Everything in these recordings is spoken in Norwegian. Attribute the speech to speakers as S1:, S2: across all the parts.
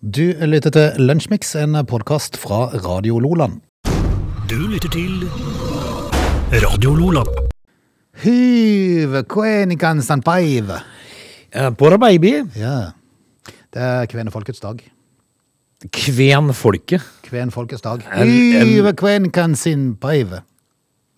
S1: Du lytter til Lunsjmix, en podkast fra Radio Loland.
S2: Du lytter til Radio Lola.
S1: Hyve kvenikan sanpaive.
S2: Bora baby,
S1: Ja. Det er kvenefolkets dag.
S2: kvenfolket.
S1: Kvenfolkets dag.
S2: en-
S1: Hyve kvenikan sanpaive.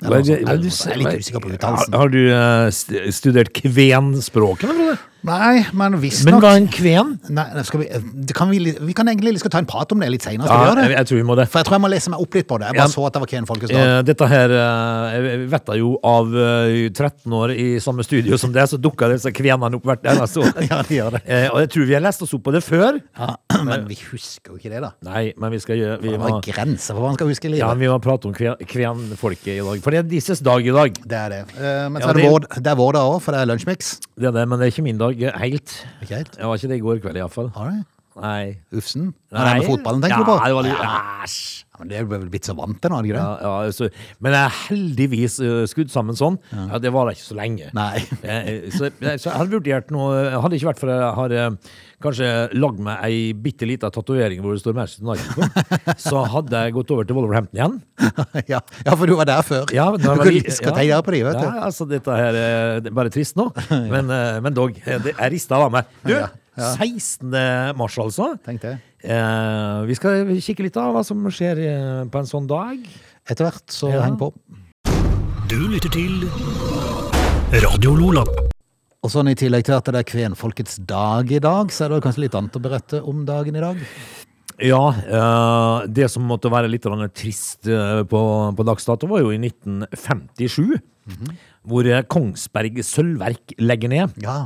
S2: Hva er
S1: altså,
S2: det-
S1: Jeg
S2: hva er det du
S1: er
S2: sier?
S1: litt usikker på uttalelsen.
S2: Har, har du eh, st- studert kvenspråkene, Frode?
S1: Nei, men
S2: Men hva
S1: visstnok
S2: er en kven?
S1: Nei, det skal vi, eh, det kan vi, li- vi kan egentlig vi skal ta en prat om det litt seinere. gjøre
S2: Ja, jeg,
S1: det?
S2: jeg tror vi må det.
S1: For jeg tror jeg må lese meg opp litt på det. Jeg
S2: Ja.
S1: bare så at det var kvenfolkets dag.
S2: Eh, Dette her eh, Jeg vetta jo av eh, 13 år i samme studio som det, så dukka disse kvenene opp hvert eneste år.
S1: Ja, de gjør det.
S2: Eh, Og jeg tror vi har lest oss opp på det før.
S1: Ja, men vi husker jo ikke det, da.
S2: Nei, men vi skal gjøre vi
S1: Det
S2: må,
S1: var grenser for hva man skal huske i livet.
S2: ja, vi må prate om kven- kvenfolket i dag. For det er disses dag i dag.
S1: Det er det. Eh, men så
S2: Ja,
S1: er det,
S2: det-
S1: vår, det er vår dag òg, for det er lunsjmix.
S2: Det er det, men det er ikke min dag eh, helt.
S1: Ikke helt?
S2: Jeg var ikke det i går kveld, iallfall.
S1: Har du?
S2: Nei.
S1: Ufsen? Nei. Det er med fotballen, tenker
S2: ja,
S1: du på?
S2: Det var litt,
S1: ja.
S2: Æsj.
S1: Ja, men det er vel blitt så vant til nå, er det ikke det?
S2: Ja, ja, så, men jeg er heldigvis eh, skudd sammen sånn. Ja, det varer ikke så lenge.
S1: Nei.
S2: Eh, så, jeg- så jeg hadde vurdert noe eh, Hadde det ikke vært for jeg har eh, kanskje lagd meg ei bitte lita tatovering hvor det står Manchester United på, så hadde jeg gått over til Wolverhampton igjen.
S1: ja. ja, for du var der før.
S2: Ja,
S1: du
S2: da var
S1: kunne
S2: vi-
S1: like godt
S2: ja.
S1: ta deg på de, vet du.
S2: Ja, altså, dette her eh, det er bare trist nå, men, eh, men dog. eh, Det er rista av meg. Du,
S1: Ja, ja.
S2: 16. mars, altså.
S1: Tenk det.
S2: Eh, vi skal kikke litt av hva som skjer eh, på en sånn dag.
S1: Etter hvert, så
S2: Ja.
S1: heng på.
S2: Du lytter til Radio Lola.
S1: Og sånn I tillegg til at det er kvenfolkets dag i dag, så er det kanskje litt annet å berette om dagen i dag.
S2: Ja, eh, det som måtte være litt grann trist eh, på, på dagsdato, var jo i 1957. Hvor eh, Kongsberg Sølvverk legger ned.
S1: Ja.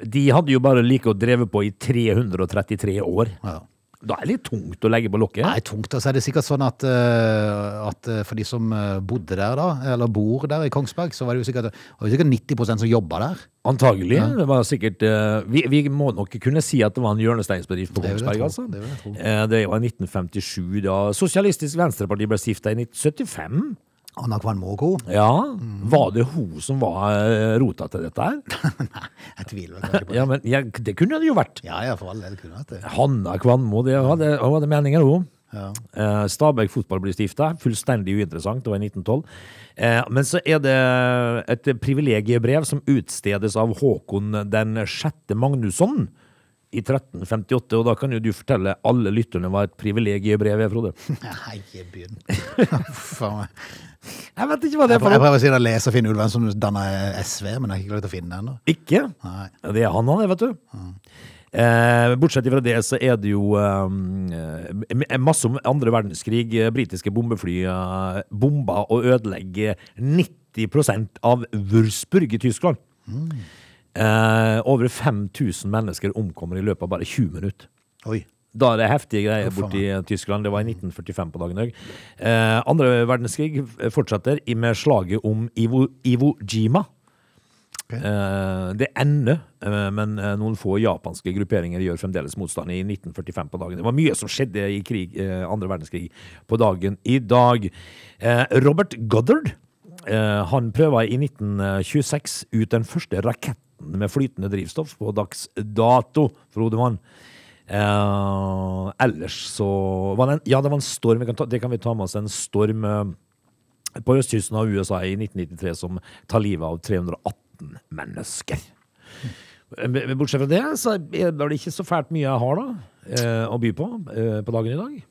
S2: De hadde jo bare like å dreve på i 333 år.
S1: ja.
S2: Da er det litt tungt å legge på lokket.
S1: Nei, tungt. Og så er det sikkert sånn at, eh, at eh, for de som eh, bodde der, da, eller bor der i Kongsberg, så var det jo sikkert, var det sikkert 90 som jobba der.
S2: Antagelig. Det var sikkert eh, vi, vi må nok kunne si at det var en hjørnesteinsbedrift på
S1: Det vil jeg tro.
S2: Kongsberg, altså.
S1: Det vil jeg tro.
S2: Eh, det var 1957, da Sosialistisk Venstreparti ble stifta i 1975.
S1: Anna Kvan Mågo?
S2: Ja.
S1: Mm.
S2: Var det hun som var eh, rota til dette her?
S1: Nei, jeg tviler vel kanskje på det.
S2: Ja, men ja, Det kunne det jo vært.
S1: Ja, ja, for all del kunne vært det.
S2: Hanna Kvanmo, det hadde, hun hadde meninger, hun.
S1: Ja.
S2: Eh, Stabæk fotball blir stifta. Fullstendig uinteressant, det var i 1912. Eh, men så er det et privilegiebrev som utstedes av Håkon den sjette Magnusson i 1358. Og da kan jo du fortelle alle lytterne hva et privilegiebrev er, Frode.
S1: Nei, jeg begynner. Faen meg.
S2: Jeg vet ikke hva det
S1: Jeg
S2: er for noe.
S1: prøver å si det, lese og finne ulven som danner SV, men jeg har ikke klart å finne den ennå.
S2: Ikke?
S1: Nei.
S2: Ja, Det er han, han, det, vet du. Eh, bortsett fra det, så er det jo eh, eh, masse om andre verdenskrig. Eh, Britiske bombefly eh, bomba og ødelegger 90 av Würzburg i Tyskland. Eh, over 5000 mennesker omkommer i løpet av bare 20 minutter.
S1: Oi.
S2: Da er det heftige greier
S1: faen.
S2: borti Tyskland. Det var i 1945 på dagen òg. Eh, andre verdenskrig fortsetter i- med slaget om Iwo, Iwo Jima.
S1: Ok.
S2: Eh, det ender, eh, men eh, noen få japanske grupperinger gjør fremdeles motstand i 1945 på dagen. Det var mye som skjedde i krig, eh, andre verdenskrig på dagen i dag. Eh, Robert Goddard eh, han prøver i 1926 ut den første raketten med flytende drivstoff på dags dato, Frodemann. Eh, ellers så var det en, Ja, det var en storm. Vi kan ta, det kan vi ta med oss. En storm eh, på østkysten av USA i 1993 som tar livet av 318 mennesker. Men Bortsett fra det, så er det ikke så fælt mye jeg har da, eh, å by på eh, på dagen i dag.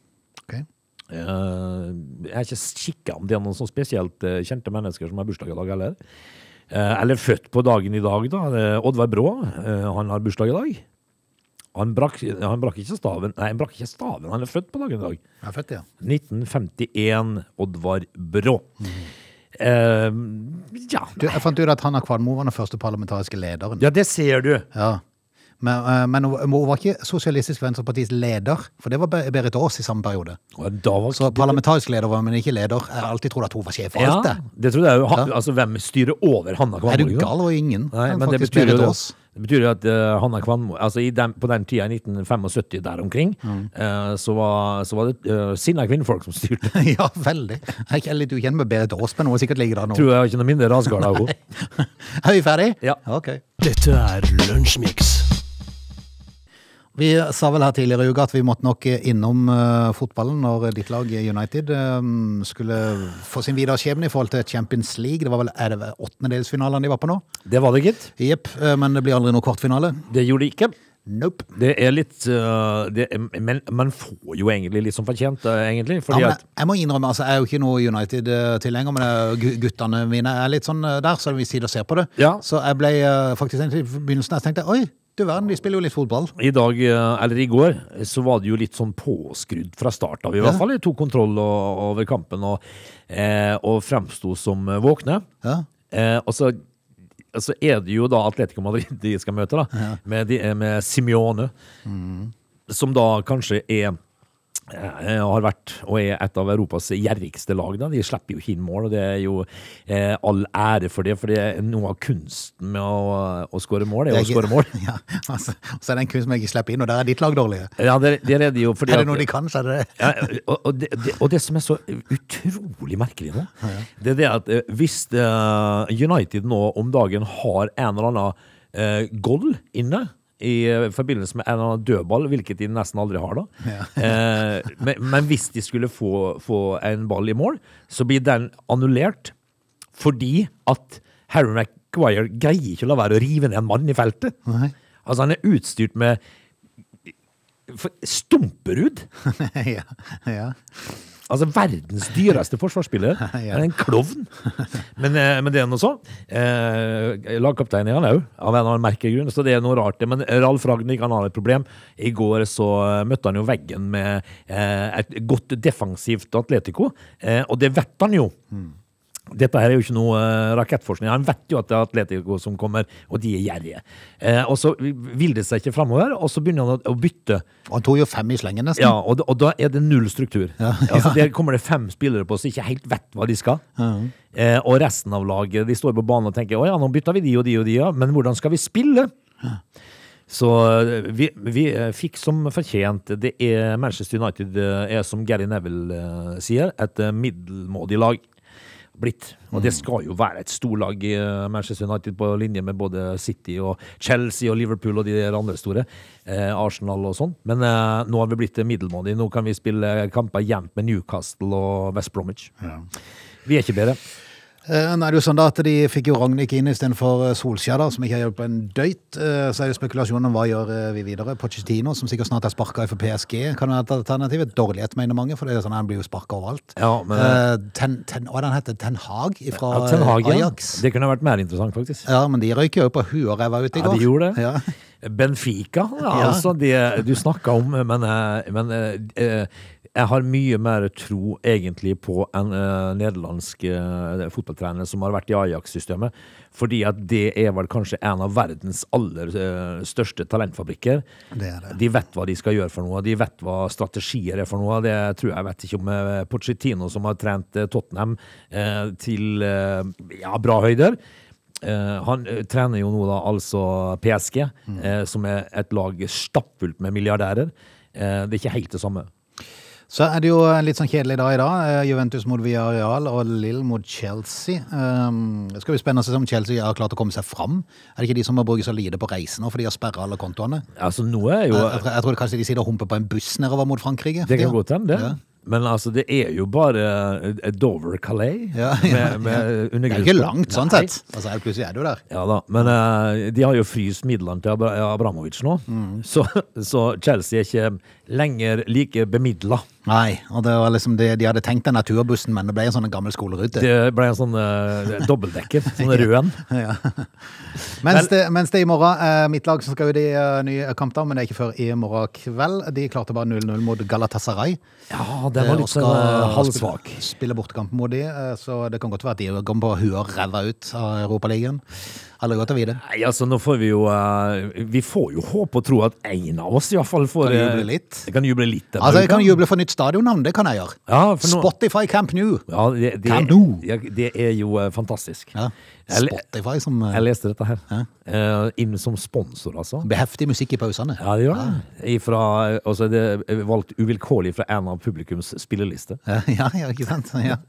S1: Ok.
S2: Eh, jeg har ikke kikka om det er noen sånn spesielt eh, kjente mennesker som har bursdag i dag heller. Eh, eller født på dagen i dag, da. Det er Oddvar Brå, eh, han har bursdag i dag. Han brakk, han brakk ikke staven. Nei, han brakk ikke staven, han er født på dagen i dag.
S1: Jeg er født, ja.
S2: 1951, Oddvar Brå. Eh, ja.
S1: Du, jeg fant ut at Hanna Kvanmo var den første parlamentariske lederen.
S2: ja, det ser du.
S1: Ja. Men, eh, men hun- hun var ikke Sosialistisk Venstrepartis leder, for det var Be- Berit Aas i samme periode.
S2: Og Da var
S1: Så parlamentarisk leder var hun, men ikke leder. Jeg har alltid trodd at hun var sjef for
S2: ja,
S1: alt det.
S2: det trodde jeg jo. Han, altså, hvem styrer over Hanna Kvanmo?
S1: Er du
S2: ikke sant?
S1: gal og ingen?
S2: Nei,
S1: Men
S2: men det
S1: faktisk
S2: betyr,
S1: Berit
S2: jo,
S1: Aas.
S2: det betyr jo at eh, Hanna Kvanmo altså i den, På den tida, i 1975 der omkring,
S1: Mm.
S2: eh, så, var, så var det uh, sinna kvinnfolk som styrte.
S1: Ja, veldig. Jeg er litt ukjent med Berit Aas, men hun er sikkert ligger der nå.
S2: Tror jeg har ikke noe mindre rasgard av henne.
S1: Er vi ferdig?
S2: Ja.
S1: Ok.
S3: Dette er Lunsjmix.
S1: Vi sa vel her tidligere i uka at vi måtte nok innom eh, fotballen når ditt lag eh, United eh, skulle få sin videre skjebne i forhold til Champions League. Det var vel er det vel åttendedelsfinalen de var på nå?
S2: Det var det, gitt.
S1: Jepp, eh, men det blir aldri noe kvartfinale.
S2: Det gjorde det ikke.
S1: Nope.
S2: Det er litt øh, det, Men man får jo egentlig litt som fortjent, øh, egentlig. Fordi
S1: ja, men
S2: at
S1: jeg, jeg må innrømme, altså, jeg er jo ikke noe United-tilhenger, men eh, gu- guttene mine er litt sånn eh, der, så vi sitter og ser på det.
S2: Ja.
S1: Så jeg ble eh, faktisk egentlig i begynnelsen jeg tenkte oi, du verden, de spiller jo litt fotball.
S2: i dag, øh, eller i går, så var det jo litt sånn påskrudd fra start av. I hvert fall de tok kontroll og, over kampen og, eh, og fremsto som øh, våkne.
S1: Ja.
S2: Eh, og så og så er det jo da Atletico Madrid de skal møte, da. Med, de, eh, med Simione. Som da kanskje er eh, har vært og er et av Europas gjerrigste lag. Da. De slipper jo ikke inn mål, og det er jo eh, all ære for det. For det er noe av kunsten med å, å skåre mål, er å
S1: Jeg-
S2: skåre mål.
S1: Ja, altså, så er det en kunst som jeg ikke slipper inn, og der er ditt lag dårlige.
S2: Ja, det, det er det jo fordi
S1: Er det
S2: at-
S1: noe de kan, så er det det.
S2: Ja, og, og, det, det, og det som er så utrolig merkelig nå, det er det at eh, hvis eh, United nå om dagen har en eller annen eh, goal inne i eh, forbindelse med en eller annen dødball, hvilket de nesten aldri har da. Eh, men, men hvis de skulle få, få en ball i mål, så blir den annullert fordi at Harry Maguire greier ikke å la være å rive ned en mann i feltet.
S1: Nei.
S2: Altså han er utstyrt med for- stumperud.
S1: ja, ja.
S2: Altså verdens dyreste forsvarsspiller.
S1: Ja.
S2: Han er En klovn. Men, eh, men det er noe sånn. Eh, Lagkaptein er han òg, av en eller annen merkelig grunn. Så det er noe rart. det. Men Ralf Ragnhild han har et problem. I går så eh, møtte han jo veggen med eh, et godt defensivt Atletico, eh, og det vet han jo. Dette her er jo ikke noe eh, rakettforskning. Han vet jo at det er Atletico som kommer, og de er gjerrige. Eh, og så vil det seg ikke framover, og så begynner han å- å bytte.
S1: Og han tok jo fem i slengen nesten.
S2: Ja, og da, og da er det null struktur. Altså, der kommer det fem spillere på som ikke helt vet hva de skal. Eh, og resten av laget de står på banen og tenker å ja, nå bytter vi de og de og de, ja. men hvordan skal vi spille? Så eh, vi, vi eh, fikk som fortjent Det er Manchester United eh, er, som Gary Neville eh, sier, et eh, middelmådig lag blitt. Og det skal jo være et storlag i eh, Manchester United på linje med både City og Chelsea og Liverpool og de der andre store. Eh, Arsenal og sånn. Men eh, nå har vi blitt eh, middelmådig. Nå kan vi spille kamper jevnt med Newcastle og West Bromwich. Vi er ikke bedre.
S1: Eh, Nå er det jo sånn da at de fikk jo Ragnhild inn istedenfor eh, Solskjær, da, som ikke har hjulpet en døyt. Eh, Så er det spekulasjonen om hva gjør eh, vi videre. Pochettino, som sikkert snart er sparka for PSG, kan være et alternativ. Et dårlighet, mener mange, for det er jo sånn han blir jo sparka overalt.
S2: Ja, men-
S1: Eh, ten, ten, hva er det han heter? Ten Hag fra
S2: Ja, Ten
S1: eh,
S2: Hag, ja.
S1: Ajax?
S2: Det kunne vært mer interessant, faktisk.
S1: Ja, men de røyker jo på huet og ræva ut i
S2: Ja,
S1: går.
S2: de gjorde det.
S1: Ja.
S2: Benfica, ja,
S1: Ja.
S2: altså det du snakka om, men, eh, men eh, eh, jeg har mye mer tro egentlig på en eh, nederlandsk eh, fotballtrener som har vært i Ajax-systemet, fordi at det er vel kanskje en av verdens aller eh, største talentfabrikker.
S1: Det er det.
S2: De vet hva de skal gjøre for noe, de vet hva strategier er for noe. Det tror jeg jeg vet ikke om eh, Pochettino, som har trent eh, Tottenham eh, til eh, ja, bra høyder. Eh, han eh, trener jo nå da altså PSG,
S1: Mm.
S2: eh, som er et lag stappfullt med milliardærer. Eh, det er ikke helt det samme.
S1: Så er det jo en litt sånn kjedelig dag i dag. Eh, Juventus mot Villarreal og Lill mot Chelsea. Um, det skal bli spennende å se om Chelsea har klart å komme seg fram. Er det ikke de som må bruke så lite på reisen nå, for de har sperra alle kontoene?
S2: Altså, nå er jo
S1: Jeg, jeg, tror- jeg tror kanskje de sitter og humper på en buss nedover mot Frankrike.
S2: Det
S1: Ja.
S2: kan godt hende, det.
S1: Ja.
S2: Men altså, det er jo bare eh, Dover Calais
S1: Ja, ja,
S2: med, med
S1: Det er jo
S2: undergrunns-
S1: ikke langt, sånn
S2: Nei.
S1: sett. Altså, helt plutselig er du der.
S2: Ja da, men eh, de har jo fryst midlene til Abra Abramovic nå,
S1: Mm.
S2: så, så Chelsea er ikke lenger like bemidla.
S1: Nei, og det var liksom det, de hadde tenkt den naturbussen, men det ble en sånn gammel skolerute.
S2: Det ble en sånn eh, dobbeltdekker, sånn rød en.
S1: Ja. Mens, det, mens det i morgen er mitt lag som skal ut i eh, ny kamp, da, men det er ikke før i morgen kveld. De klarte bare 0-0 mot Galatasaray.
S2: Ja, den var
S1: og
S2: litt sånn eh, halvsvak.
S1: Spille, spille bortekamp mot de, eh, så det kan godt være at de kommer på huet og ræva ut av Europaligaen. Aldri godt å vite.
S2: Nei, altså nå får vi jo eh, Vi får jo håpe og tro at en av oss i hvert fall får
S1: Kan
S2: eh,
S1: juble litt.
S2: Kan juble litt denne
S1: Altså, jeg kan
S2: uka.
S1: juble for nytt stadionnavn, det kan jeg gjøre.
S2: Ja, for nå-
S1: Spotify Camp New.
S2: Ja, det, det,
S1: Kan du?
S2: ja, det er jo eh, fantastisk.
S1: Ja.
S2: Jeg le-
S1: Spotify som eh,
S2: Jeg leste dette her. Eh, inn som sponsor, altså.
S1: beheftig musikk i pausene.
S2: Ja, det gjør det. Ah. Ifra, og så er det valgt uvilkårlig fra en av publikums spillelister.
S1: Ja, ja, ikke sant? Ja.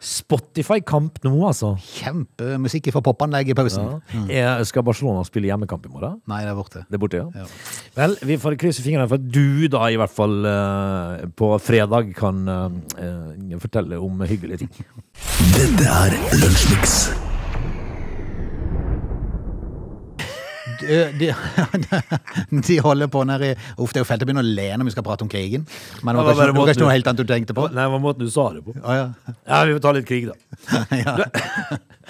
S2: Spotify kamp nå, altså.
S1: Kjempemusikk fra popanlegg i pausen.
S2: Ja. Eh, Skal Barcelona spille hjemmekamp i morgen?
S1: Nei, det er borte.
S2: Det er borte, ja.
S1: Ja.
S2: Vel, vi får krysse fingrene for at du da i hvert fall eh, på fredag kan eh, eh, fortelle om hyggelige ting.
S3: Dette er Lunsjmix.
S1: De, de, de holder på nede i Uff, det er jo fælt å begynne å le når vi skal prate om krigen. Men det var
S2: Ja, bare
S1: kanskje, det var
S2: måten
S1: kanskje
S2: du-
S1: noe helt annet du tenkte på?
S2: Nei, hva måten du sa det på?
S1: Å, ja.
S2: Ja, vi får ta litt krig, da.
S1: ja.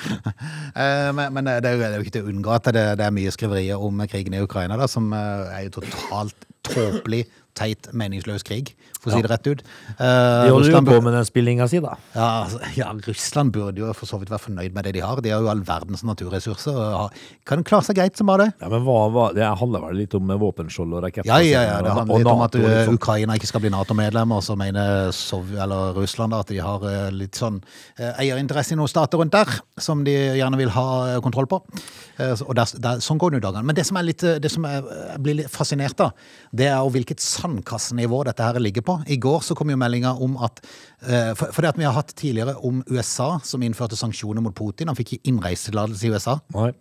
S1: Eh, men men det, er jo, det er jo ikke til å unngå at det, det er mye skriverier om krigen i Ukraina, da, som eh, er jo totalt tåpelig, teit, meningsløs krig, for å si det rett ut. Eh,
S2: Vi holder jo
S1: Russland
S2: på
S1: bur-
S2: med den spillinga si, da.
S1: ja, altså, ja, Russland burde jo for så vidt være fornøyd med det de har. De har jo all verdens naturressurser. Og har, kan klare seg greit som bare det.
S2: Ja, men hva, hva, Det handler vel litt om våpenskjold og raketter?
S1: Ja, ja, ja. Det
S2: og-
S1: handler
S2: og
S1: litt om at
S2: NATO,
S1: eh,
S2: liksom.
S1: Ukraina ikke skal bli Nato-medlem, og så mener Sov eller Russland da, at de har eh, litt sånn eh, eierinteresse i noen stater rundt der, som de gjerne vil ha eh, kontroll på. Eh, så- Og der, der, sånn går det jo dagene. Men det som, er litt, eh, det som er, jeg blir litt fascinert av, det er jo hvilket sandkassenivå dette her ligger på. I går så kom jo meldinga om at eh, For, for det at vi har hatt tidligere om USA, som innførte sanksjoner mot Putin. Han fikk ikke innreisetillatelse i USA.
S2: Nei.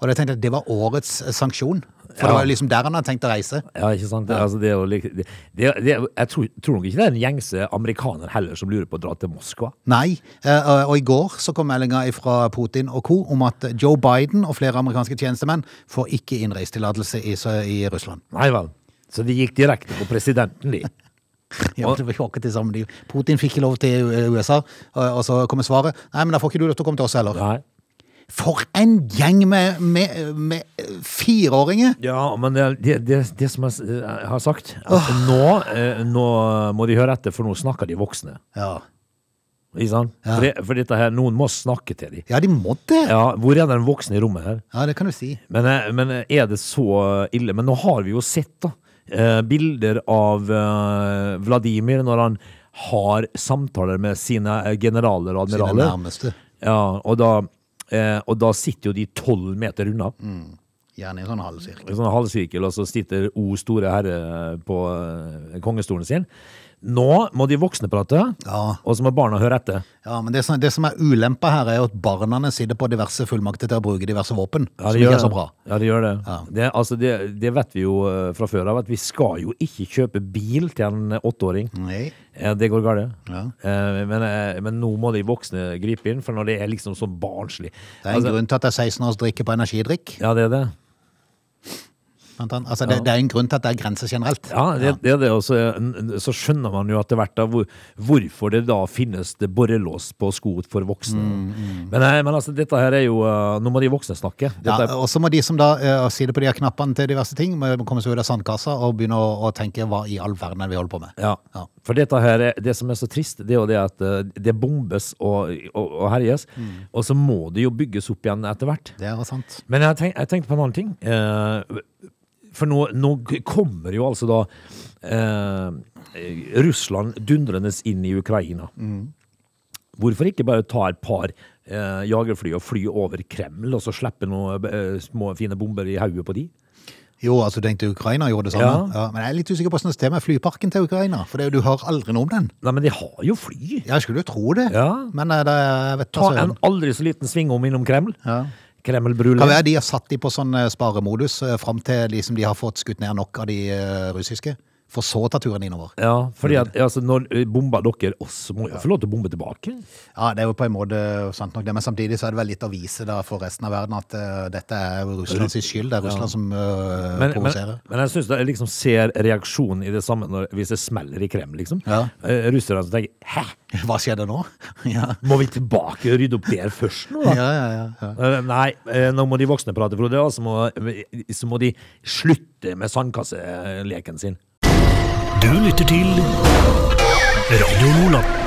S1: Og da tenkte jeg at det var årets eh, sanksjon. For
S2: Ja.
S1: det var jo liksom der han hadde tenkt å reise.
S2: Ja, ikke sant? Det, altså, det er jo lik- det, det, det, jeg tror, tror nok ikke det er en gjengse amerikaner heller som lurer på å dra til Moskva.
S1: Nei. eh, Og og i går så kom meldinga fra Putin og co. om at Joe Biden og flere amerikanske tjenestemenn får ikke innreisetillatelse i, Sø- i Russland.
S2: Nei vel. Så de gikk direkte på presidenten, de.
S1: Ja, men det var jo akkurat det samme. De- Putin fikk ikke lov til eh, USA, og og så kommer svaret. Nei, men da får ikke du lov til å komme til oss heller.
S2: Nei.
S1: For en gjeng med, med, med eh, fireåringer!
S2: Ja, men det, det, det, det som jeg s- jeg har sagt at nå, eh, nå må de høre etter, for nå snakker de voksne.
S1: Ja.
S2: Ikke sant?
S1: Ja.
S2: For, det, for dette her, noen må snakke til dem.
S1: ja, de må det!
S2: Ja, hvor er den voksne i rommet her?
S1: Ja, det kan du si.
S2: Men, eh, men er det så ille? Men nå har vi jo sett da, eh, bilder av eh, Vladimir når han har samtaler med sine eh, generaler og
S1: Sine
S2: admiraler.
S1: nærmeste.
S2: Ja, og, da, eh, og da sitter jo de tolv meter unna.
S1: Gjerne i sånn halvsirkel.
S2: En sånn halvsirkel, og så sitter O store herre på eh, kongestolen sin. Nå må de voksne prate,
S1: Ja.
S2: og så må barna høre etter.
S1: Ja, men det som, det som er ulempa her, er jo at barna sitter på diverse fullmakter til å bruke diverse våpen.
S2: Ja,
S1: som
S2: det
S1: ikke
S2: gjør det.
S1: er så bra.
S2: Ja, det gjør det.
S1: Ja.
S2: Det, altså, det, det vet vi jo eh, fra før av, at vi skal jo ikke kjøpe bil til en åtteåring.
S1: Nei.
S2: Ja, det går galt.
S1: Ja.
S2: Eh, Men, eh, men nå må de voksne gripe inn, for når det er liksom sånn barnslig Altså,
S1: Det er en grunn til at det er 16 års drikke på energidrikk.
S2: Ja, det er det.
S1: blant annet. Altså, det, det er en grunn til at det er grenser generelt.
S2: Ja, det, det er det. Og så, så skjønner man jo etter hvert da hvor, hvorfor det da finnes det borrelås på sko for voksne.
S1: Mm,
S2: Men, nei, men altså, dette her er jo eh, Nå må de voksne snakke.
S1: Ja,
S2: Dette er,
S1: og så må de som da eh, sitter på de her knappene til diverse ting, må må komme seg ut av sandkassa og begynne å, å tenke hva i all verden er det vi holder på med.
S2: ja.
S1: Ja.
S2: For dette her er, det som er så trist, det er jo det at eh, det bombes og, og, og herjes.
S1: Mm.
S2: Og så må det jo bygges opp igjen etter hvert.
S1: Det er sant.
S2: Men jeg, tenk, jeg tenkte på en annen ting. Eh, for nå, nå g- kommer jo altså da eh, Russland dundrende inn i Ukraina.
S1: Mm.
S2: Hvorfor ikke bare ta et par eh, jagerfly og fly over Kreml, og så slippe noen eh, små, fine bomber i hodet på de?
S1: Jo, altså du tenkte Ukraina gjorde det samme. Ja. men jeg er litt usikker på hvordan det stemmer med flyparken til Ukraina, for det, er jo- du hører aldri noe om den.
S2: Nei, men de har jo fly!
S1: Jeg skulle jo tro det,
S2: Ja.
S1: men eh, det, jeg vet
S2: Ta
S1: altså,
S2: en aldri så liten svingom innom Kreml.
S1: Ja. Kan
S2: Kreml-brulé.
S1: være de har satt de på sånn eh, sparemodus eh, fram til liksom de har fått skutt ned nok av de eh, russiske, for så ta turen innover.
S2: Ja, fordi at altså, når eh, bomber dere også, må jo få lov til å bombe tilbake.
S1: Ja, det er jo på en måte sant nok det, men samtidig så er det vel litt å vise da for resten av verden at eh, dette er jo Russlands skyld, det er Russland som eh,
S2: men, men,
S1: provoserer.
S2: men jeg syns jeg liksom ser reaksjonen i det samme når, hvis det smeller i Kreml, liksom.
S1: Ja.
S2: Eh, Russerne som tenker 'hæ,
S1: Hva skjedde nå? ja.
S2: må vi tilbake og rydde opp der først nå, da?'
S1: Ja, ja, ja, ja.
S2: Eh, Nei, eh, nå må de voksne prate, Frode, og så må, eh, så må de slutte med sandkasseleken sin.
S3: Du lytter til Radio Nordland.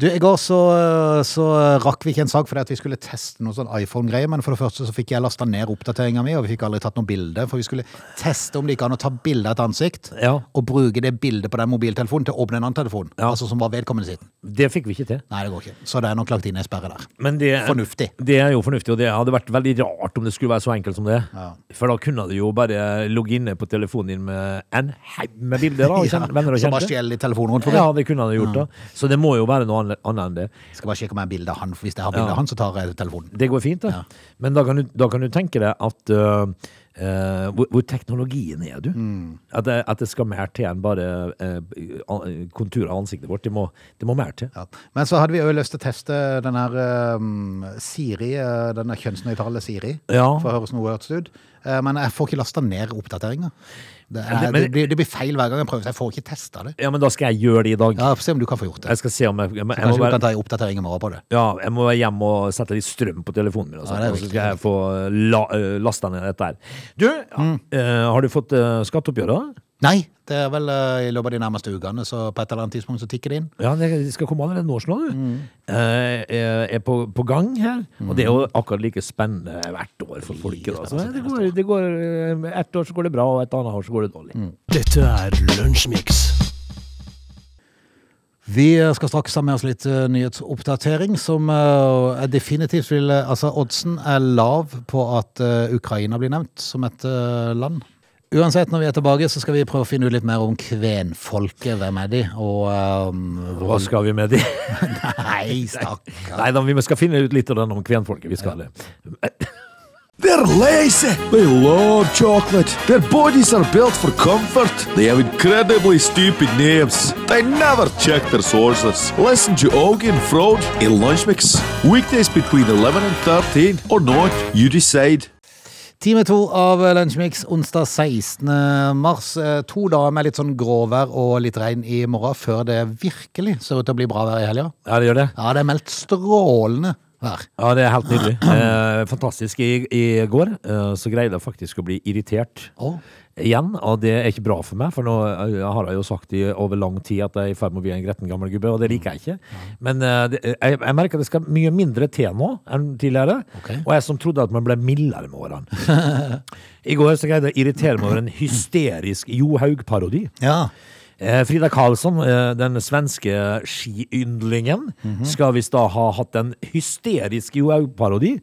S1: Du, I går så, eh, så rakk vi ikke en sak fordi at vi skulle teste noe sånn iPhone-greier. Men for det første så fikk jeg lasta ned oppdateringa mi, og vi fikk aldri tatt noe bilde. For vi skulle teste om det gikk an å ta bilde av et ansikt
S2: Ja.
S1: og bruke det bildet på den mobiltelefonen til å åpne en annen telefon.
S2: Ja.
S1: Altså som var vedkommende sin.
S2: Det fikk vi ikke til.
S1: Nei, det går ikke. Så det er nok lagt inn ei sperre der.
S2: Men det,
S1: Fornuftig.
S2: det er jo fornuftig, og det hadde vært veldig rart om det skulle være så enkelt som det.
S1: Ja.
S2: For da kunne du jo bare logge inne på telefonen din med en haug med bilder. Da, og kjenne, venner og
S1: så
S2: kjente.
S1: bare stjel litt telefonen rundt forbi.
S2: Ja, det kunne han ha gjort da. Så det må jo være noe annet annet enn det.
S1: Skal bare sjekke om jeg har bilde av han, for hvis jeg har bilde av han, så tar jeg telefonen.
S2: Det går fint, det. Men da kan, du, da kan du tenke deg at øh, øh, hvor, hvor teknologien er, du.
S1: Mm.
S2: At, det, at det skal mer til enn bare øh, an- konturer av ansiktet vårt. Det må, det må mer til.
S1: Ja. Men så hadde vi jo lyst til å teste den her um, Siri, eh, denne kjønnsnøytrale Siri,
S2: Ja.
S1: for å høres noe hørtes ut. Eh, men jeg får ikke lasta ned oppdateringer. Det, er,
S2: Men-
S1: det,
S2: men-
S1: blir- det blir feil hver gang jeg prøver, så jeg får ikke testa det.
S2: Ja, men da skal jeg gjøre det i dag.
S1: Ja, Se om du kan få gjort det.
S2: Jeg skal se om jeg, jeg, må- jeg,
S1: Kanskje
S2: må
S1: du kan
S2: være,
S1: ta en oppdatering i morgen på det.
S2: ja, jeg må være hjemme og sette litt strøm på telefonen min. Og, sånt,
S1: Ja, det er
S2: og så
S1: viktig.
S2: skal jeg få la, øh, lasta ned dette her. Du,
S1: Mm.
S2: øh, har du fått øh, skatteoppgjøret? da?
S1: Nei, det er vel eh, i løpet av de nærmeste ukene, så på et eller annet tidspunkt så tikker det inn.
S2: Ja, det skal komme allerede nå, sånn, du. Eh, er er på, på gang her. Og det er jo akkurat like spennende hvert år for folket. Da. Så det går, det går, eh, ett år så går det bra, og et annet år så går det dårlig.
S3: Dette er Lunsjmix.
S1: Vi skal straks ha med oss litt eh, nyhetsoppdatering, som eh, jeg definitivt vil eh, Altså, oddsen er lav på at eh, Ukraina blir nevnt som et eh, land. Uansett, når vi er tilbake, så skal vi prøve å finne ut litt mer om kvenfolket. Hvem er de? Og eh,
S2: Hva
S1: hvor
S2: skal vi med det?
S1: Nei, stakkar.
S2: Nei da, vi skal finne ut litt av den om kvenfolket. Vi skal det.
S4: They're lazy. They love chocolate. Their bodies are built for comfort. They have incredibly stupid names. They never check their sources. Listen to Augie and Frode in Lunch Mix. Weekdays between 11 and 13 or not, you decide.
S1: Time to av Lunsjmix onsdag 16. mars. Eh, To dager med litt sånn gråvær og litt regn i morgen, før det virkelig ser ut til å bli bra vær i helga.
S2: Ja, det gjør det.
S1: Ja, det er meldt strålende vær.
S2: Ja, det er helt nydelig. Eh, fantastisk. I, i går eh, så greide jeg faktisk å bli irritert
S1: Å.
S2: igjen, og det er ikke bra for meg, for nå eh, har jeg jo sagt i over lang tid at jeg er i ferd med å bli en gretten gammel gubbe, og det liker jeg ikke. Men eh, det, jeg, jeg merker at det skal mye mindre til nå enn tidligere,
S1: Ok.
S2: og jeg som trodde at man ble mildere med årene. I går så greide jeg å irritere meg over en hysterisk Johaug-parodi.
S1: Ja.
S2: Eh, Frida Karlsson, eh, den svenske skiyndlingen,
S1: Mhm.
S2: skal visst da ha hatt en hysterisk Johaug-parodi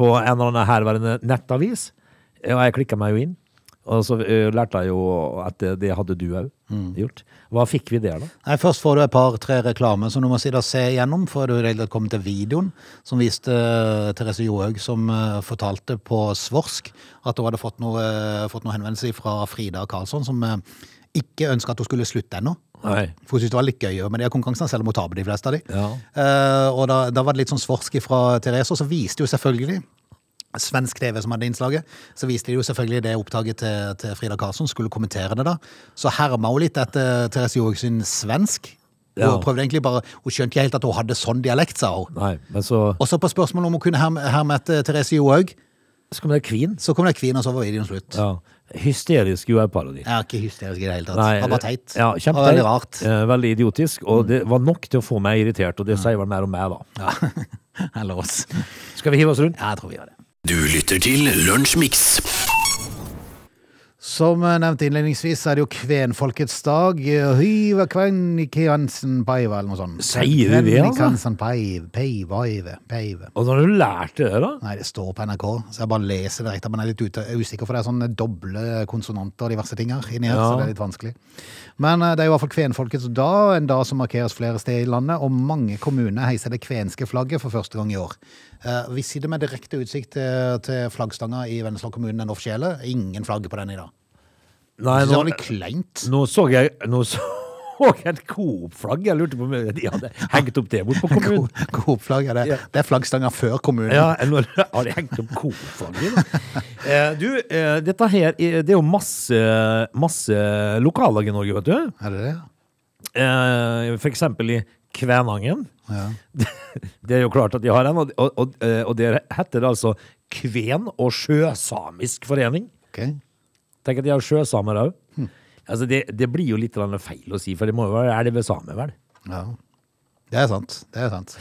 S2: på en eller annen herværende nettavis. Eh, Og jeg klikka meg jo inn. Og så eh, lærte jeg jo at eh, det hadde du òg
S1: Mm.
S2: gjort. Hva fikk vi der, da?
S1: Nei, først får du et par-tre reklamer som du må si da se igjennom, for du har kommet til videoen som viste eh, Therese Johaug som eh, fortalte på Svorsk at hun hadde fått noe, eh, fått noe henvendelse fra Frida Karlsson, som eh, ikke ønska at hun skulle slutte ennå.
S2: Nei.
S1: For hun syntes det var litt gøy med de her konkurransene, selv om hun taper de fleste av de.
S2: Ja.
S1: Eh, og da, da var det litt sånn svorsk fra Therese, og så viste jo selvfølgelig Svensk TV som hadde innslaget, så viste de jo selvfølgelig det opptaket til, til Frida Karlsson, skulle kommentere det da. Så herma hun litt etter Therese Johaug sin svensk. Hun
S2: Ja.
S1: prøvde egentlig bare, hun skjønte ikke helt at hun hadde sånn dialekt, sa hun.
S2: Nei, men så
S1: Og så på spørsmålet om hun kunne herme, herme etter Therese Johaug,
S2: skal vi ha Queen.
S1: så kom det kvinn, og så var videoen slutt.
S2: Ja. Hysterisk Johaug-parodi.
S1: Jeg er ikke hysterisk i det hele tatt.
S2: Nei,
S1: det var bare teit.
S2: Ja,
S1: det var
S2: kjempeteit.
S1: veldig rart. Mm.
S2: Eh, veldig idiotisk. Og det var nok til å få meg irritert, og det sier vel mer om meg, da.
S1: Ja. Eller oss.
S2: Skal vi hive oss rundt?
S1: Ja, jeg tror vi gjør det.
S3: Du lytter til Lunsjmix.
S1: Som nevnt innledningsvis er det jo kvenfolkets dag. Hyva kvennikansen paiva, eller noe sånt.
S2: Sier vi det, altså?
S1: Kvennikansen paiv- Peiva, peive.
S2: Og når du lærte det, da?
S1: Nei, det står på NRK, så jeg bare leser direkte. Men jeg er litt ute, jeg er usikker, for det er sånne doble konsonanter og diverse ting her inni her, så
S2: Ja.
S1: det er litt vanskelig. Men eh, det er jo i hvert fall kvenfolkets dag, en dag som markeres flere steder i landet, og mange kommuner heiser det kvenske flagget for første gang i år. Eh, Vi sitter med direkte utsikt til, til flaggstanga i Vennesla kommune, den offisielle. Ingen flagg på den i dag.
S2: Nei,
S1: Jeg synes det
S2: nå,
S1: var litt kleint.
S2: nå så jeg Nå så jeg et Coop-flagg. Jeg lurte på om de hadde hengt opp det bort på kommunen.
S1: God, god flagg er det.
S2: Ja.
S1: Det er flaggstanga før kommunen.
S2: Ja, eller har de hengt opp Coop-flagget? da? Eh, du, eh, dette her er- Det er jo masse, masse lokallag i Norge, vet du.
S1: Er det det?
S2: Eh, for eksempel i Kvænangen.
S1: Ja.
S2: Det er jo klart at de har en, og, og, og, eh, og det heter det altså Kven- og sjøsamisk forening.
S1: Ok.
S2: Tenk at de har sjøsamer òg. Altså det, det blir jo litt grann feil å si, for det må jo være elvesamer, vel?
S1: Ja. Det er sant. Det er sant.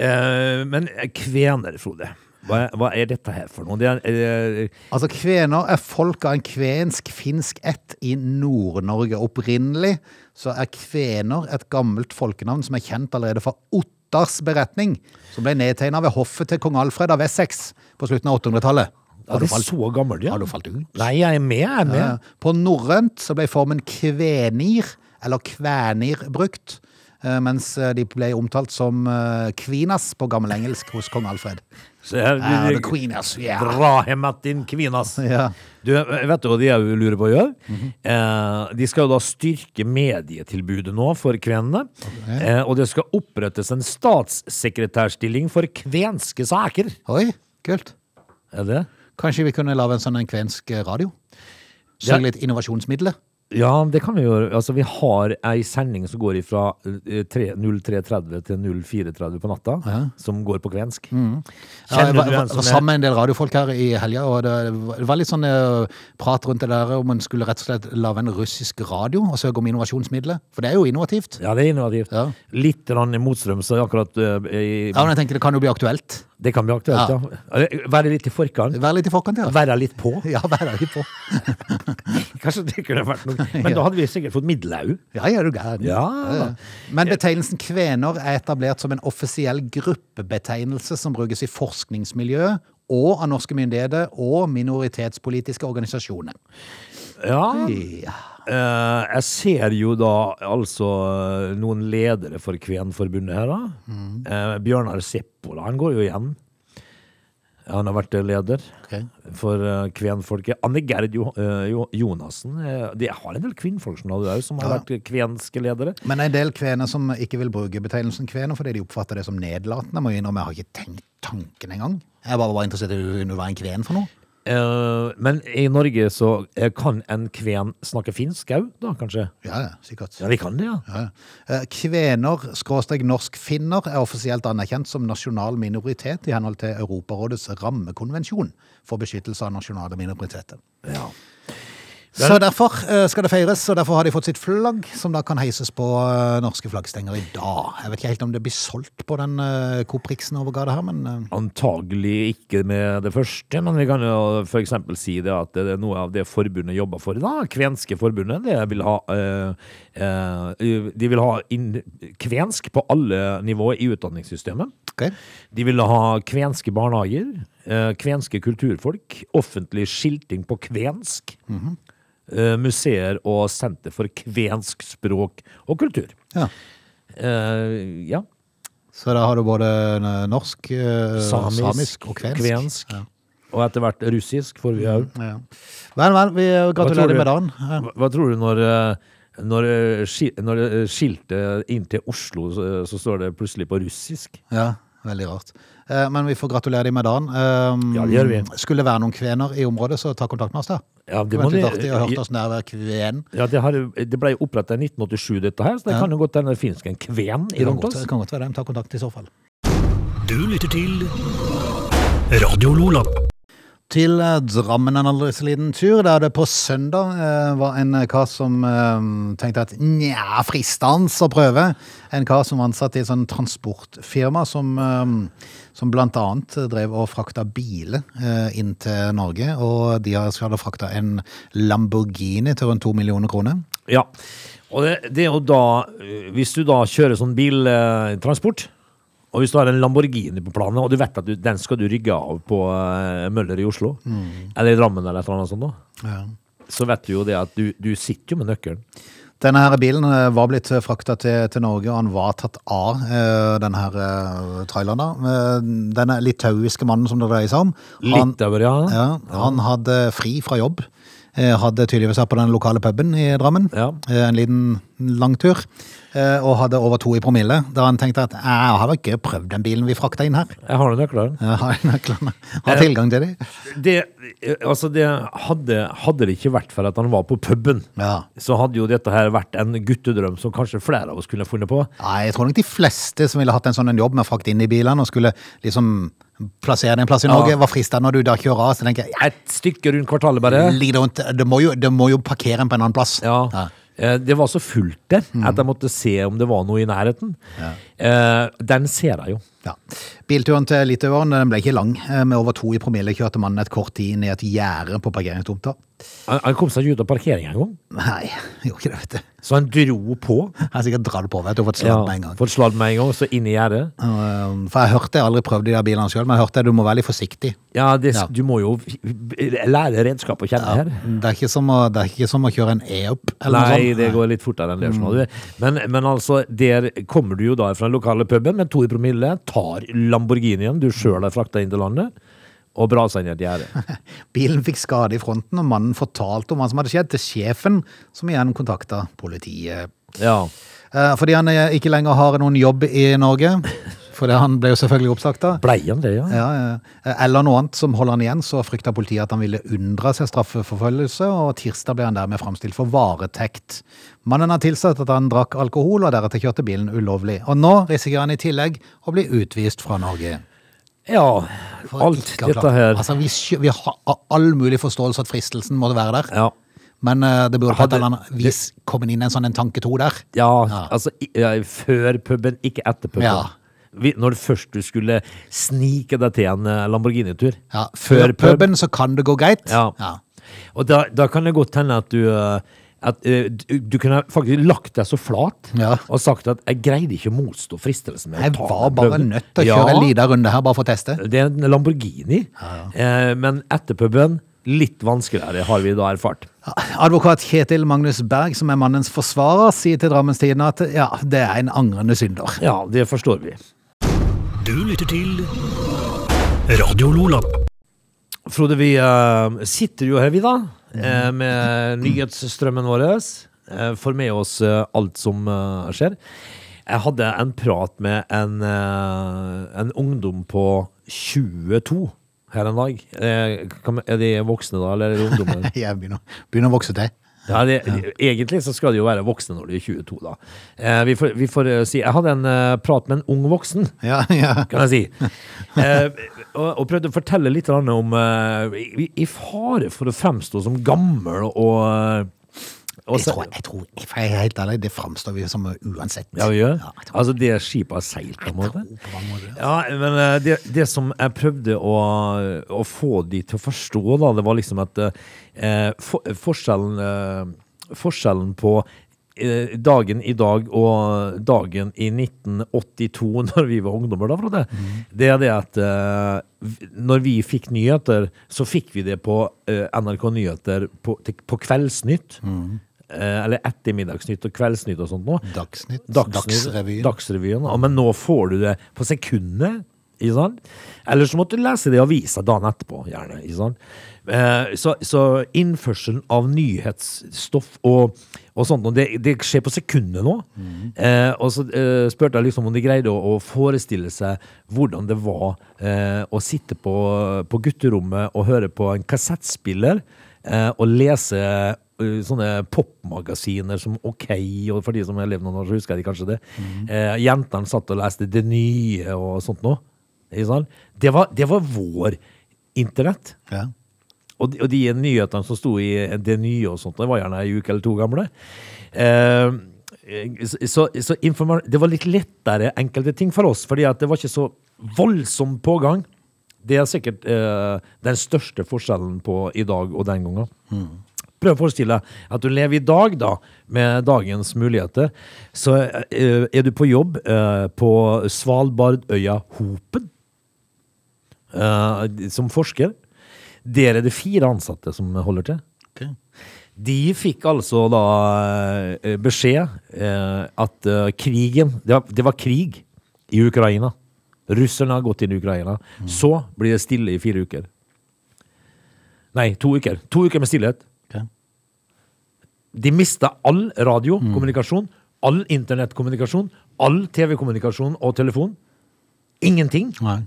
S2: Eh, men kvener, Frode. Hva, hva er dette her for noe? Det er, eh,
S1: Altså, kvener er folk av en kvensk-finsk ett i Nord-Norge. Opprinnelig så er kvener et gammelt folkenavn som er kjent allerede fra Ottars beretning, som ble nedtegna ved hoffet til kong Alfred av Wessex på slutten av 800-tallet.
S2: er
S1: Har, du
S2: det
S1: falt- Eh,
S2: så gammelt, ja?
S1: har du falt ut?
S2: Nei, jeg er med, jeg er med.
S1: Ja. På norrønt så ble formen kvenir, eller kvænir, brukt. eh, mens eh, de ble omtalt som eh, kvinas på gammel engelsk hos kong Alfred.
S2: Så her,
S1: Ah, the queenas, yeah.
S2: Dra hjem at din kvinnas.
S1: Ja. Mhm.
S2: Du, vet du hva de òg lurer på å gjøre? eh, de skal jo da styrke medietilbudet nå for kvenene. Eh, og det skal opprettes en statssekretærstilling for kvenske saker.
S1: Oi, kult.
S2: Er det?
S1: Kanskje vi kunne lage en sånn en kvensk radio?
S2: Ja.
S1: Søke litt innovasjonsmidler?
S2: Ja, det kan vi gjøre. Altså, vi har ei sending som går eh, fra 03.30 til 04.30 på natta, som går på kvensk.
S1: Ja, jeg
S2: Kjenner
S1: var,
S2: du Sånn en
S1: var,
S2: som
S1: var
S2: er
S1: sammen med en del radiofolk her i helga, og det var- det var litt sånn eh, prat rundt det der om en skulle rett og slett lage en russisk radio og søke om innovasjonsmidler. For det er jo innovativt.
S2: Ja, det er innovativt.
S1: Ja.
S2: Litt grann i motstrøms akkurat eh, i,
S1: Ja, men jeg tenker det kan jo bli aktuelt.
S2: Det kan bli aktuelt, ja. Eh, Være litt i forkant.
S1: Vær litt i forkant, ja.
S2: Være litt på.
S1: Ja, vær der litt på.
S2: Kanskje det kunne vært noe. Men da hadde vi sikkert fått middelau.
S1: Ja, ja, du gæren.
S2: Ja.
S1: Men betegnelsen kvener er etablert som en offisiell gruppebetegnelse som brukes i forskningsmiljøet og av norske myndigheter og minoritetspolitiske organisasjoner.
S2: ja.
S1: Ja.
S2: Eh, jeg ser jo da altså eh, noen ledere for Kvenforbundet her, da. Eh, Bjørnar Seppola, han går jo igjen. Han har vært eh, leder
S1: Ok.
S2: for eh, kvenfolket. Anne Gerd jo, eh, jo, Jonassen. eh, de har en del kvinnfolk som, har- som har
S1: Ja.
S2: vært eh, kvenske ledere.
S1: Men en del kvener som ikke vil bruke betegnelsen kvener fordi de oppfatter det som nedlatende. Jeg må innrømme, jeg har ikke tenkt tanken engang. Jeg bare var interessert i å være en kven for noe.
S2: Eh, men i Norge så eh, kan en kven snakke finsk òg, da kanskje?
S1: Ja, ja, sikkert.
S2: Ja, de kan det, ja.
S1: Ja, ja. Eh, Kvener, skråstrek norskfinner, er offisielt anerkjent som nasjonal minoritet i henhold til Europarådets rammekonvensjon for beskyttelse av nasjonale minoriteter.
S2: ja.
S1: Så derfor eh, skal det feires, og derfor har de fått sitt flagg, som da kan heises på eh, norske flaggstenger i dag. Jeg vet ikke helt om det blir solgt på den eh, Coop Rixen over gata her, men eh,
S2: Antagelig ikke med det første, men vi kan jo f.eks. si det at det er noe av det forbundet jobber for, da, kvenske forbundet, det vil ha, eh, eh, de vil ha inn, kvensk på alle nivåer i utdanningssystemet.
S1: ok.
S2: De ville ha kvenske barnehager, eh, kvenske kulturfolk, offentlig skilting på kvensk, eh, museer og senter for kvensk språk og kultur.
S1: Ja.
S2: Eh, ja.
S1: Så da har du både eh, norsk, eh, samisk, og kvensk. Ja.
S2: Og etter hvert russisk får vi òg.
S1: Ja. Vel, vel, vi eh,
S2: tror du?
S1: gratulerer med dagen. Ja.
S2: Hva, hva tror du når, eh, når, eh, ski- når eh, skiltet inn til Oslo, så, så står det plutselig på russisk?
S1: Ja, veldig rart. Eh, Men vi får gratulere dem med dagen. Um,
S2: Ja, det gjør vi.
S1: Skulle det være noen kvener i området, så ta kontakt med oss, da.
S2: Ja, det
S1: Det
S2: må
S1: var litt
S2: de-
S1: artig å høre oss nær hver kven.
S2: Ja, det, har, det ble oppretta i 1987, dette her, så det kan jo godt hende det finnes en kven
S1: Det
S2: i
S1: kan
S2: rundt
S1: godt
S2: oss.
S1: det kan godt være dem. Ta kontakt i så fall.
S3: Du lytter til Radio Lola.
S1: Til eh, Drammen en aldri så liten tur, der det på søndag eh, var en eh, kar som eh, tenkte at nja, fristende å prøve. En kar som var ansatt i et sånn transportfirma som, eh, som blant annet drev og frakta biler eh, inn til Norge. Og de hadde frakta en Lamborghini til rundt to millioner kroner.
S2: Ja. Og det, det er jo da eh, Hvis du da kjører sånn biltransport, og hvis du har en Lamborghini på planen, og du vet at du, den skal du rygge av på eh, Møller i Oslo, eller i Drammen eller et eller annet sånt, da, så vet du jo det at du, du sitter jo med nøkkelen.
S1: Denne her bilen eh, var blitt eh, frakta til, til Norge, og han var tatt av eh, denne her eh, traileren. da. Eh, Denne litauiske mannen som det dreier seg om. han-
S2: Litauer, ja.
S1: ja. Han hadde fri fra jobb. Eh, Hadde tydeligvis vært på den lokale puben i Drammen.
S2: Ja.
S1: Eh, En liten langtur. eh, Og hadde over to i promille. Da han tenkte at jeg har ikke prøvd den bilen vi frakta inn her.
S2: Jeg har den nøkkelen.
S1: Jeg har nøklene. Har tilgang til dem.
S2: Det, eh, altså det hadde, hadde det ikke vært for at han var på puben,
S1: Ja.
S2: så hadde jo dette her vært en guttedrøm som kanskje flere av oss kunne funnet på.
S1: Nei, jeg tror nok de fleste som ville hatt en sånn en jobb med å frakte inn i bilene og skulle liksom plassere det en plass i Norge, var frista når du da kjører av. Så tenker jeg ja,
S2: Et stykke rundt kvartalet bare.
S1: ligg det rundt, det må, jo, det må jo parkere en på en annen plass. Mm.
S2: Ja. Eh, Det var så fullt der at jeg måtte se om det var noe i nærheten. Eh, den ser jeg jo.
S1: Ja. Bilturen til Litauen den ble ikke lang. Eh, Med over to i promille kjørte mannen et kort tid ned et gjerde på parkeringstomta.
S2: Han, han kom seg ikke ut av parkeringa engang,
S1: Nei, gjorde ikke det, vet du.
S2: så han dro på.
S1: Jeg har sikkert dratt på, vet du, og fått slapp med en gang.
S2: Fått sladd med en gang, så inn i gjerdet.
S1: Eh, For jeg hørte, jeg har aldri prøvd de der bilene sjøl, men jeg hørte du må være litt forsiktig.
S2: Ja, det,
S1: Ja.
S2: du må jo lære redskap å kjenne her.
S1: Det er ikke som å, det er ikke som å kjøre en e-up, eller
S2: Nei,
S1: noe
S2: det
S1: sånt. Mm.
S2: går litt fortere enn det. skjønner du. Men, men altså, der kommer du jo da fra den lokale puben med to i promille, tar Lamborghinien du sjøl har frakta inn til landet, og braser inn i et gjerde.
S1: Bilen fikk skade i fronten, og mannen fortalte om hva som hadde skjedd, til sjefen, som igjen kontakta politiet.
S2: Ja.
S1: Eh, Fordi han eh, ikke lenger har noen jobb i Norge, for det- han ble jo selvfølgelig oppsagt da.
S2: Blei han det, ja?
S1: Ja, ja. Eh, Eller noe annet som holder han igjen, så frykta politiet at han ville unndra seg straffeforfølgelse, og tirsdag ble han dermed framstilt for varetekt. Mannen har tilstått at han drakk alkohol, og deretter kjørte bilen ulovlig. Og nå risikerer han i tillegg å bli utvist fra Norge.
S2: Ja.
S1: For
S2: Alt
S1: ikke å klare-
S2: dette her.
S1: Altså, vi, skjø- vi har all mulig forståelse at fristelsen måtte være der,
S2: Ja.
S1: men eh, det burde på et
S2: Hadde-
S1: eller annet vis kommet inn en sånn en tanke to der.
S2: Ja,
S1: Ja.
S2: altså i- ja, før puben, ikke etter puben.
S1: Ja.
S2: Vi- Når først du skulle snike deg til en eh, Lamborghini-tur.
S1: Ja, før
S2: pub.
S1: puben så kan det gå greit.
S2: Ja. Og da, da kan det godt hende at du eh, at eh, du, du kunne faktisk lagt deg så flat
S1: Ja.
S2: og sagt at 'jeg greide ikke å motstå fristelsen'. med å
S1: Jeg
S2: ta
S1: var
S2: den
S1: bare
S2: puben».
S1: nødt til å kjøre
S2: Ja,
S1: en liten runde her, bare for å teste.
S2: Det er en Lamborghini, Eh, men etter puben litt vanskeligere, har vi da erfart.
S1: Advokat Kjetil Magnus Berg, som er mannens forsvarer, sier til Drammens Tidende at ja, det er en angrende synder.
S2: Ja, det forstår vi.
S3: Du lytter til Radio Lola.
S2: Frode, vi eh, sitter jo her, vi da, eh, med nyhetsstrømmen vår. eh, får med oss eh, alt som eh, skjer. Jeg hadde en prat med en, eh, en ungdom på 22 her en dag. Eh, kan man- er de voksne da, eller er de ungdommer?
S1: Jeg begynner, begynner å vokse til.
S2: Ja, det, Egentlig så skal de jo være voksne når de er 22, da. Eh, vi, får, vi får eh, si Jeg hadde en eh, prat med en ung voksen
S1: Ja, ja.
S2: kan jeg si. Eh, og, og prøvde å fortelle litt grann om eh, i, I fare for å fremstå som gammel og, eh, og
S1: Jeg tror, jeg tror, for jeg er helt ærlig, det framstår vi som uansett.
S2: Ja, vi gjør.
S1: jeg tror-
S2: Altså det skipet har seilt, på en måte.
S1: tror på mange måter,
S2: Ja, men eh, det, det som jeg prøvde å, å få de til å forstå, da, det var liksom at eh, for, forskjellen, eh, forskjellen på eh, dagen i dag og dagen i 1982, når vi var ungdommer, da, Frode, det er det at eh, v- når vi fikk nyheter, så fikk vi det på eh, NRK Nyheter på, til, på Kveldsnytt. Eh, eller Ettermiddagsnytt og Kveldsnytt og sånt nå.
S1: Dagsnytt,
S2: Dagsrevyen.
S1: Dagsrevyen.
S2: Dagsrevyen. Ja, men nå får du det på sekundet. Ikke sant? Eller så måtte du lese det i avisa dagen etterpå. gjerne, ikke sant? Eh, Så, så innførselen av nyhetsstoff og, og sånt, og det, det skjer på sekundet nå. Eh, og så eh, spurte jeg liksom om de greide å, å forestille seg hvordan det var eh, å sitte på, på gutterommet og høre på en kassettspiller eh, og lese eh, sånne popmagasiner som OK, og for de som har levd noen år, så husker de kanskje det. Eh, jentene satt og leste Det Nye og sånt noe. Ikke sant? Det var, det var vår internett.
S1: Ja.
S2: Og de, og de nyhetene som sto i Det Nye og sånt, det var gjerne ei uke eller to gamle. Eh, så, så, så informa- det var litt lettere enkelte ting for oss, fordi at det var ikke så voldsom pågang. Det er sikkert eh, den største forskjellen på i dag og den gangen. Prøv å forestille deg at du lever i dag, da, med dagens muligheter. Så eh, er du på jobb eh, på Svalbardøya Hopen eh, som forsker. Der er det fire ansatte som holder til.
S1: ok.
S2: De fikk altså da eh, beskjed eh, at eh, krigen det var, det var krig i Ukraina. Russerne har gått inn i Ukraina.
S1: Mm.
S2: Så blir det stille i fire uker. Nei, to uker. To uker med stillhet.
S1: Ok.
S2: De mista all radiokommunikasjon,
S1: Mm.
S2: all internettkommunikasjon, all TV-kommunikasjon og telefon. Ingenting.
S1: Nei.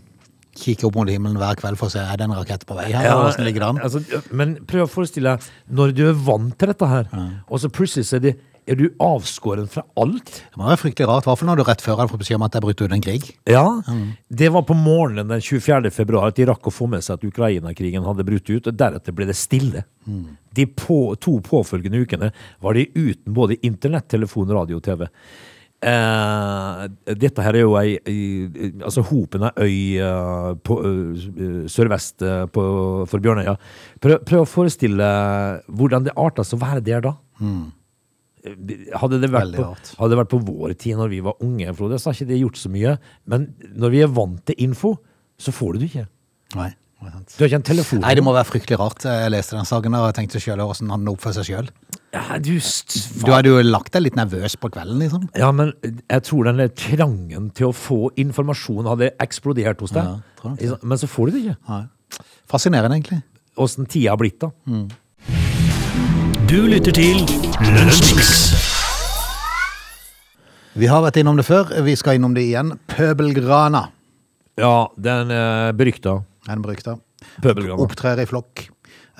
S1: Kikker opp mot himmelen hver kveld for å se er det en rakett på vei her,
S2: Ja,
S1: eller hvordan ligger det an?
S2: Altså, men prøv å forestille deg når du er vant til dette her, og så plutselig så er, det, er du avskåren fra alt.
S1: Det må være fryktelig rart, i hvert fall når du rett før han får beskjed om at det er brutt ut en krig.
S2: Ja, Det var på morgenen den 24. februar at de rakk å få med seg at Ukraina-krigen hadde brutt ut, og deretter ble det stille. De på, to påfølgende ukene var de uten både internett, telefon, radio og TV. Eh, dette her er jo ei, ei- ei- altså hopen av øy eh, på eh, sørvest eh, på, for Bjørnøya. Prøv, prøv å forestille hvordan det arter seg å være der da. Eh, Hadde det, vært
S1: Veldig
S2: på,
S1: rart.
S2: hadde det vært på vår tid når vi var unge, Frode, så har ikke det gjort så mye. Men når vi er vant til info, så får du det ikke.
S1: Nei, det er sant.
S2: Du har ikke en telefon.
S1: Nei, det må være fryktelig rart. Jeg leste den saken der og jeg tenkte sjøl åssen han oppfører seg sjøl.
S2: Ja, du, st-
S1: Du hadde jo lagt deg litt nervøs på kvelden, liksom.
S2: Ja, men jeg tror den der trangen til å få informasjon hadde eksplodert hos deg.
S1: Ja, tror jeg
S2: men så får du det ikke.
S1: Nei. Fascinerende, egentlig.
S2: Åssen tida har blitt, da.
S3: Du lytter til Lunsjmix.
S1: Vi har vært innom det før, vi skal innom det igjen. Pøbelgrana
S2: Ja, den eh, berykta
S1: er den brukte.
S2: pøbelgrana.
S1: Opptrer i flokk.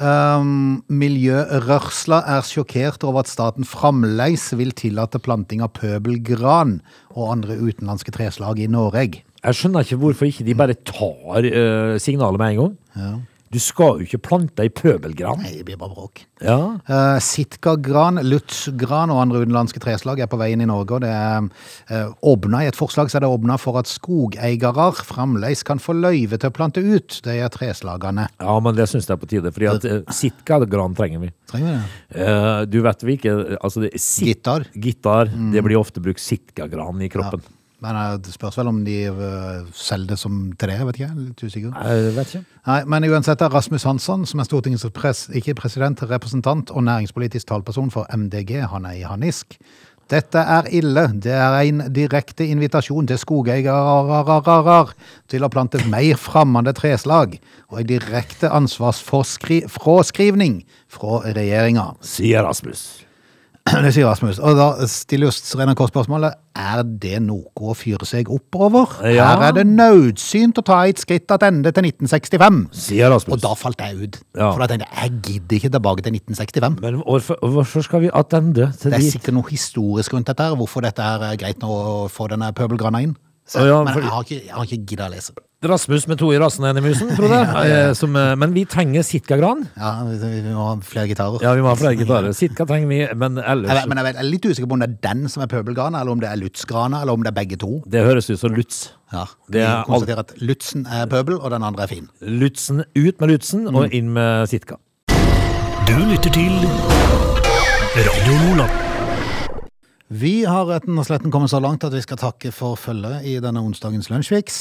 S1: Um, miljørørsla er sjokkert over at staten fremleis vil tillate planting av pøbelgran og andre utenlandske treslag i Norge.
S2: Jeg skjønner ikke hvorfor ikke de bare tar eh, signalet med en gang. Du skal jo ikke plante ei pøbelgran.
S1: Nei, det blir bare bråk.
S2: Ja.
S1: Uh, Sitkagran, lutsgran og andre utenlandske treslag er på veien i Norge. og det er eh, åpna I et forslag så er det åpna for at skogeiere fremdeles kan få løyve til å plante ut de her treslagene.
S2: ja, men det syns jeg er på tide, fordi at eh, sitkagran trenger vi.
S1: Trenger vi det?
S2: Eh, du vet vi ikke Altså, det, sit,
S1: Gitar. Mm.
S2: gitar det blir ofte brukt sitkagran i kroppen.
S1: Men eh, det spørs vel om de eh, selger det som til dere, vet ikke. jeg. Litt usikker.
S2: Jeg vet ikke.
S1: Nei, men uansett er Rasmus Hansson, som er Stortingets pres, ikke president, representant og næringspolitisk talperson for MDG, han er i Hanisk. Dette er ille. Det er en direkte invitasjon til skogeiere til å plante mer fremmede treslag, og en direkte ansvarsfraskrivning fra regjeringa.
S2: Sier Rasmus.
S1: Det sier Rasmus. Og da stiller jo Steinar Kåss spørsmålet er det noe å fyre seg oppover.
S2: Ja.
S1: Her er det nødsynt å ta et skritt tilbake til 1965.
S2: Sier Rasmus.
S1: Og da falt jeg ut.
S2: Ja.
S1: For da tenkte jeg jeg gidder ikke tilbake til 1965.
S2: Men hvorfor, hvorfor skal vi attende til
S1: Det er
S2: de
S1: sikkert noe historisk rundt dette, her, hvorfor dette her er eh, greit nå å få denne pøbelgrana inn. Så,
S2: Å ja,
S1: men
S2: for-
S1: jeg har ikke, jeg har ikke gidda å lese.
S2: Rasmus med to i rassen enn i musen, Frode? Eh, som, eh, Men vi trenger sitkagran.
S1: Ja, vi, vi må ha flere gitarer.
S2: Ja, vi må ha flere gitarer. Sitka trenger vi, men
S1: Jeg,
S2: ellers
S1: vet- men jeg, vet, jeg er litt usikker på om det er den som er pøbelgrana, eller om det er lutsgrana, eller om det er begge to.
S2: Det høres ut som Lutz.
S1: Ja,
S2: Det
S1: Vi
S2: er alt.
S1: konstaterer at lutsen er pøbel, og den andre er fin.
S2: Lutzen ut med Lutzen
S1: Mm.
S2: og inn med Sitka.
S3: Du lytter til Radio Lola.
S1: Vi har retten og sletten kommet så langt at vi skal takke for følget i denne onsdagens Lunsjviks.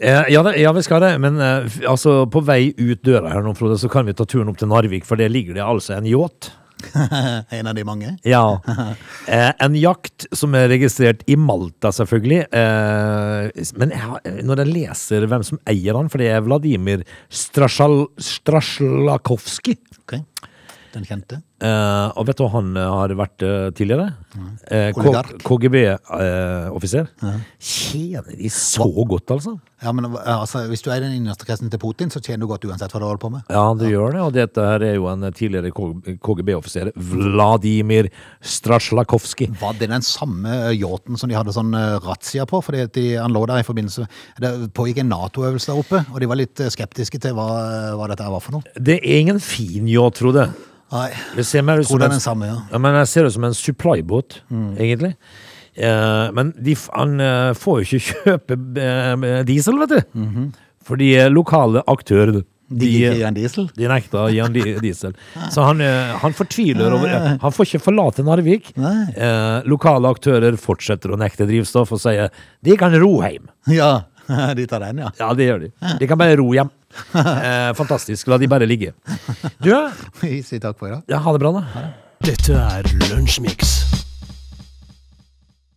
S2: Eh, ja, det, ja, vi skal det, men eh, f- altså, på vei ut døra her nå, Frode, så kan vi ta turen opp til Narvik, for der ligger det altså en yacht.
S1: en av de mange.
S2: Ja. Eh, en jakt som er registrert i Malta, selvfølgelig. Eh, men jeg, har- når jeg leser hvem som eier den, for det er Vladimir Strasjal, Strasjlakovskij
S1: Ok, Den kjente.
S2: eh, Og vet du hva han eh, har vært eh, tidligere? Eh,
S1: Oligark.
S2: KGB-offiser. eh, Tjener de så godt, altså?
S1: Ja, men altså, Hvis du er i den innerste kretsen til Putin, så tjener du godt uansett hva du holder på med.
S2: Ja, du gjør det, og dette her er jo en tidligere KGB-offiser, Vladimir Strasjlakovskij.
S1: Var det den samme eh, yachten som de hadde sånn eh, razzia på? Fordi at de, han lå der i forbindelse Det pågikk en Nato-øvelse der oppe, og de var litt eh, skeptiske til hva, hva dette her var for noe.
S2: Det er ingen fin yacht, Frode.
S1: Nei,
S2: Det ser mer ut
S1: Tror
S2: som
S1: det er
S2: en-
S1: den samme, ja. Mm.
S2: men jeg ser ut som en supplybåt, egentlig. Eh, men de, f- han eh, får jo ikke kjøpe eh, diesel, vet du. Fordi eh, lokale aktører
S1: Mhm. De eh, gikk i en diesel?
S2: de nekta å gi han di- diesel. Så han, eh, han fortviler over det. Han får ikke forlate Narvik.
S1: Nei.
S2: Eh, lokale aktører fortsetter å nekte drivstoff og sier de kan ro hjem.
S1: Ja, de tar den, ja.
S2: Ja, det gjør de. De kan bare ro hjem. Eh, fantastisk. La de bare ligge. Du,
S1: Vi sier takk for i dag.
S2: ja, ha det bra, da.
S3: Dette er Lunsjmix.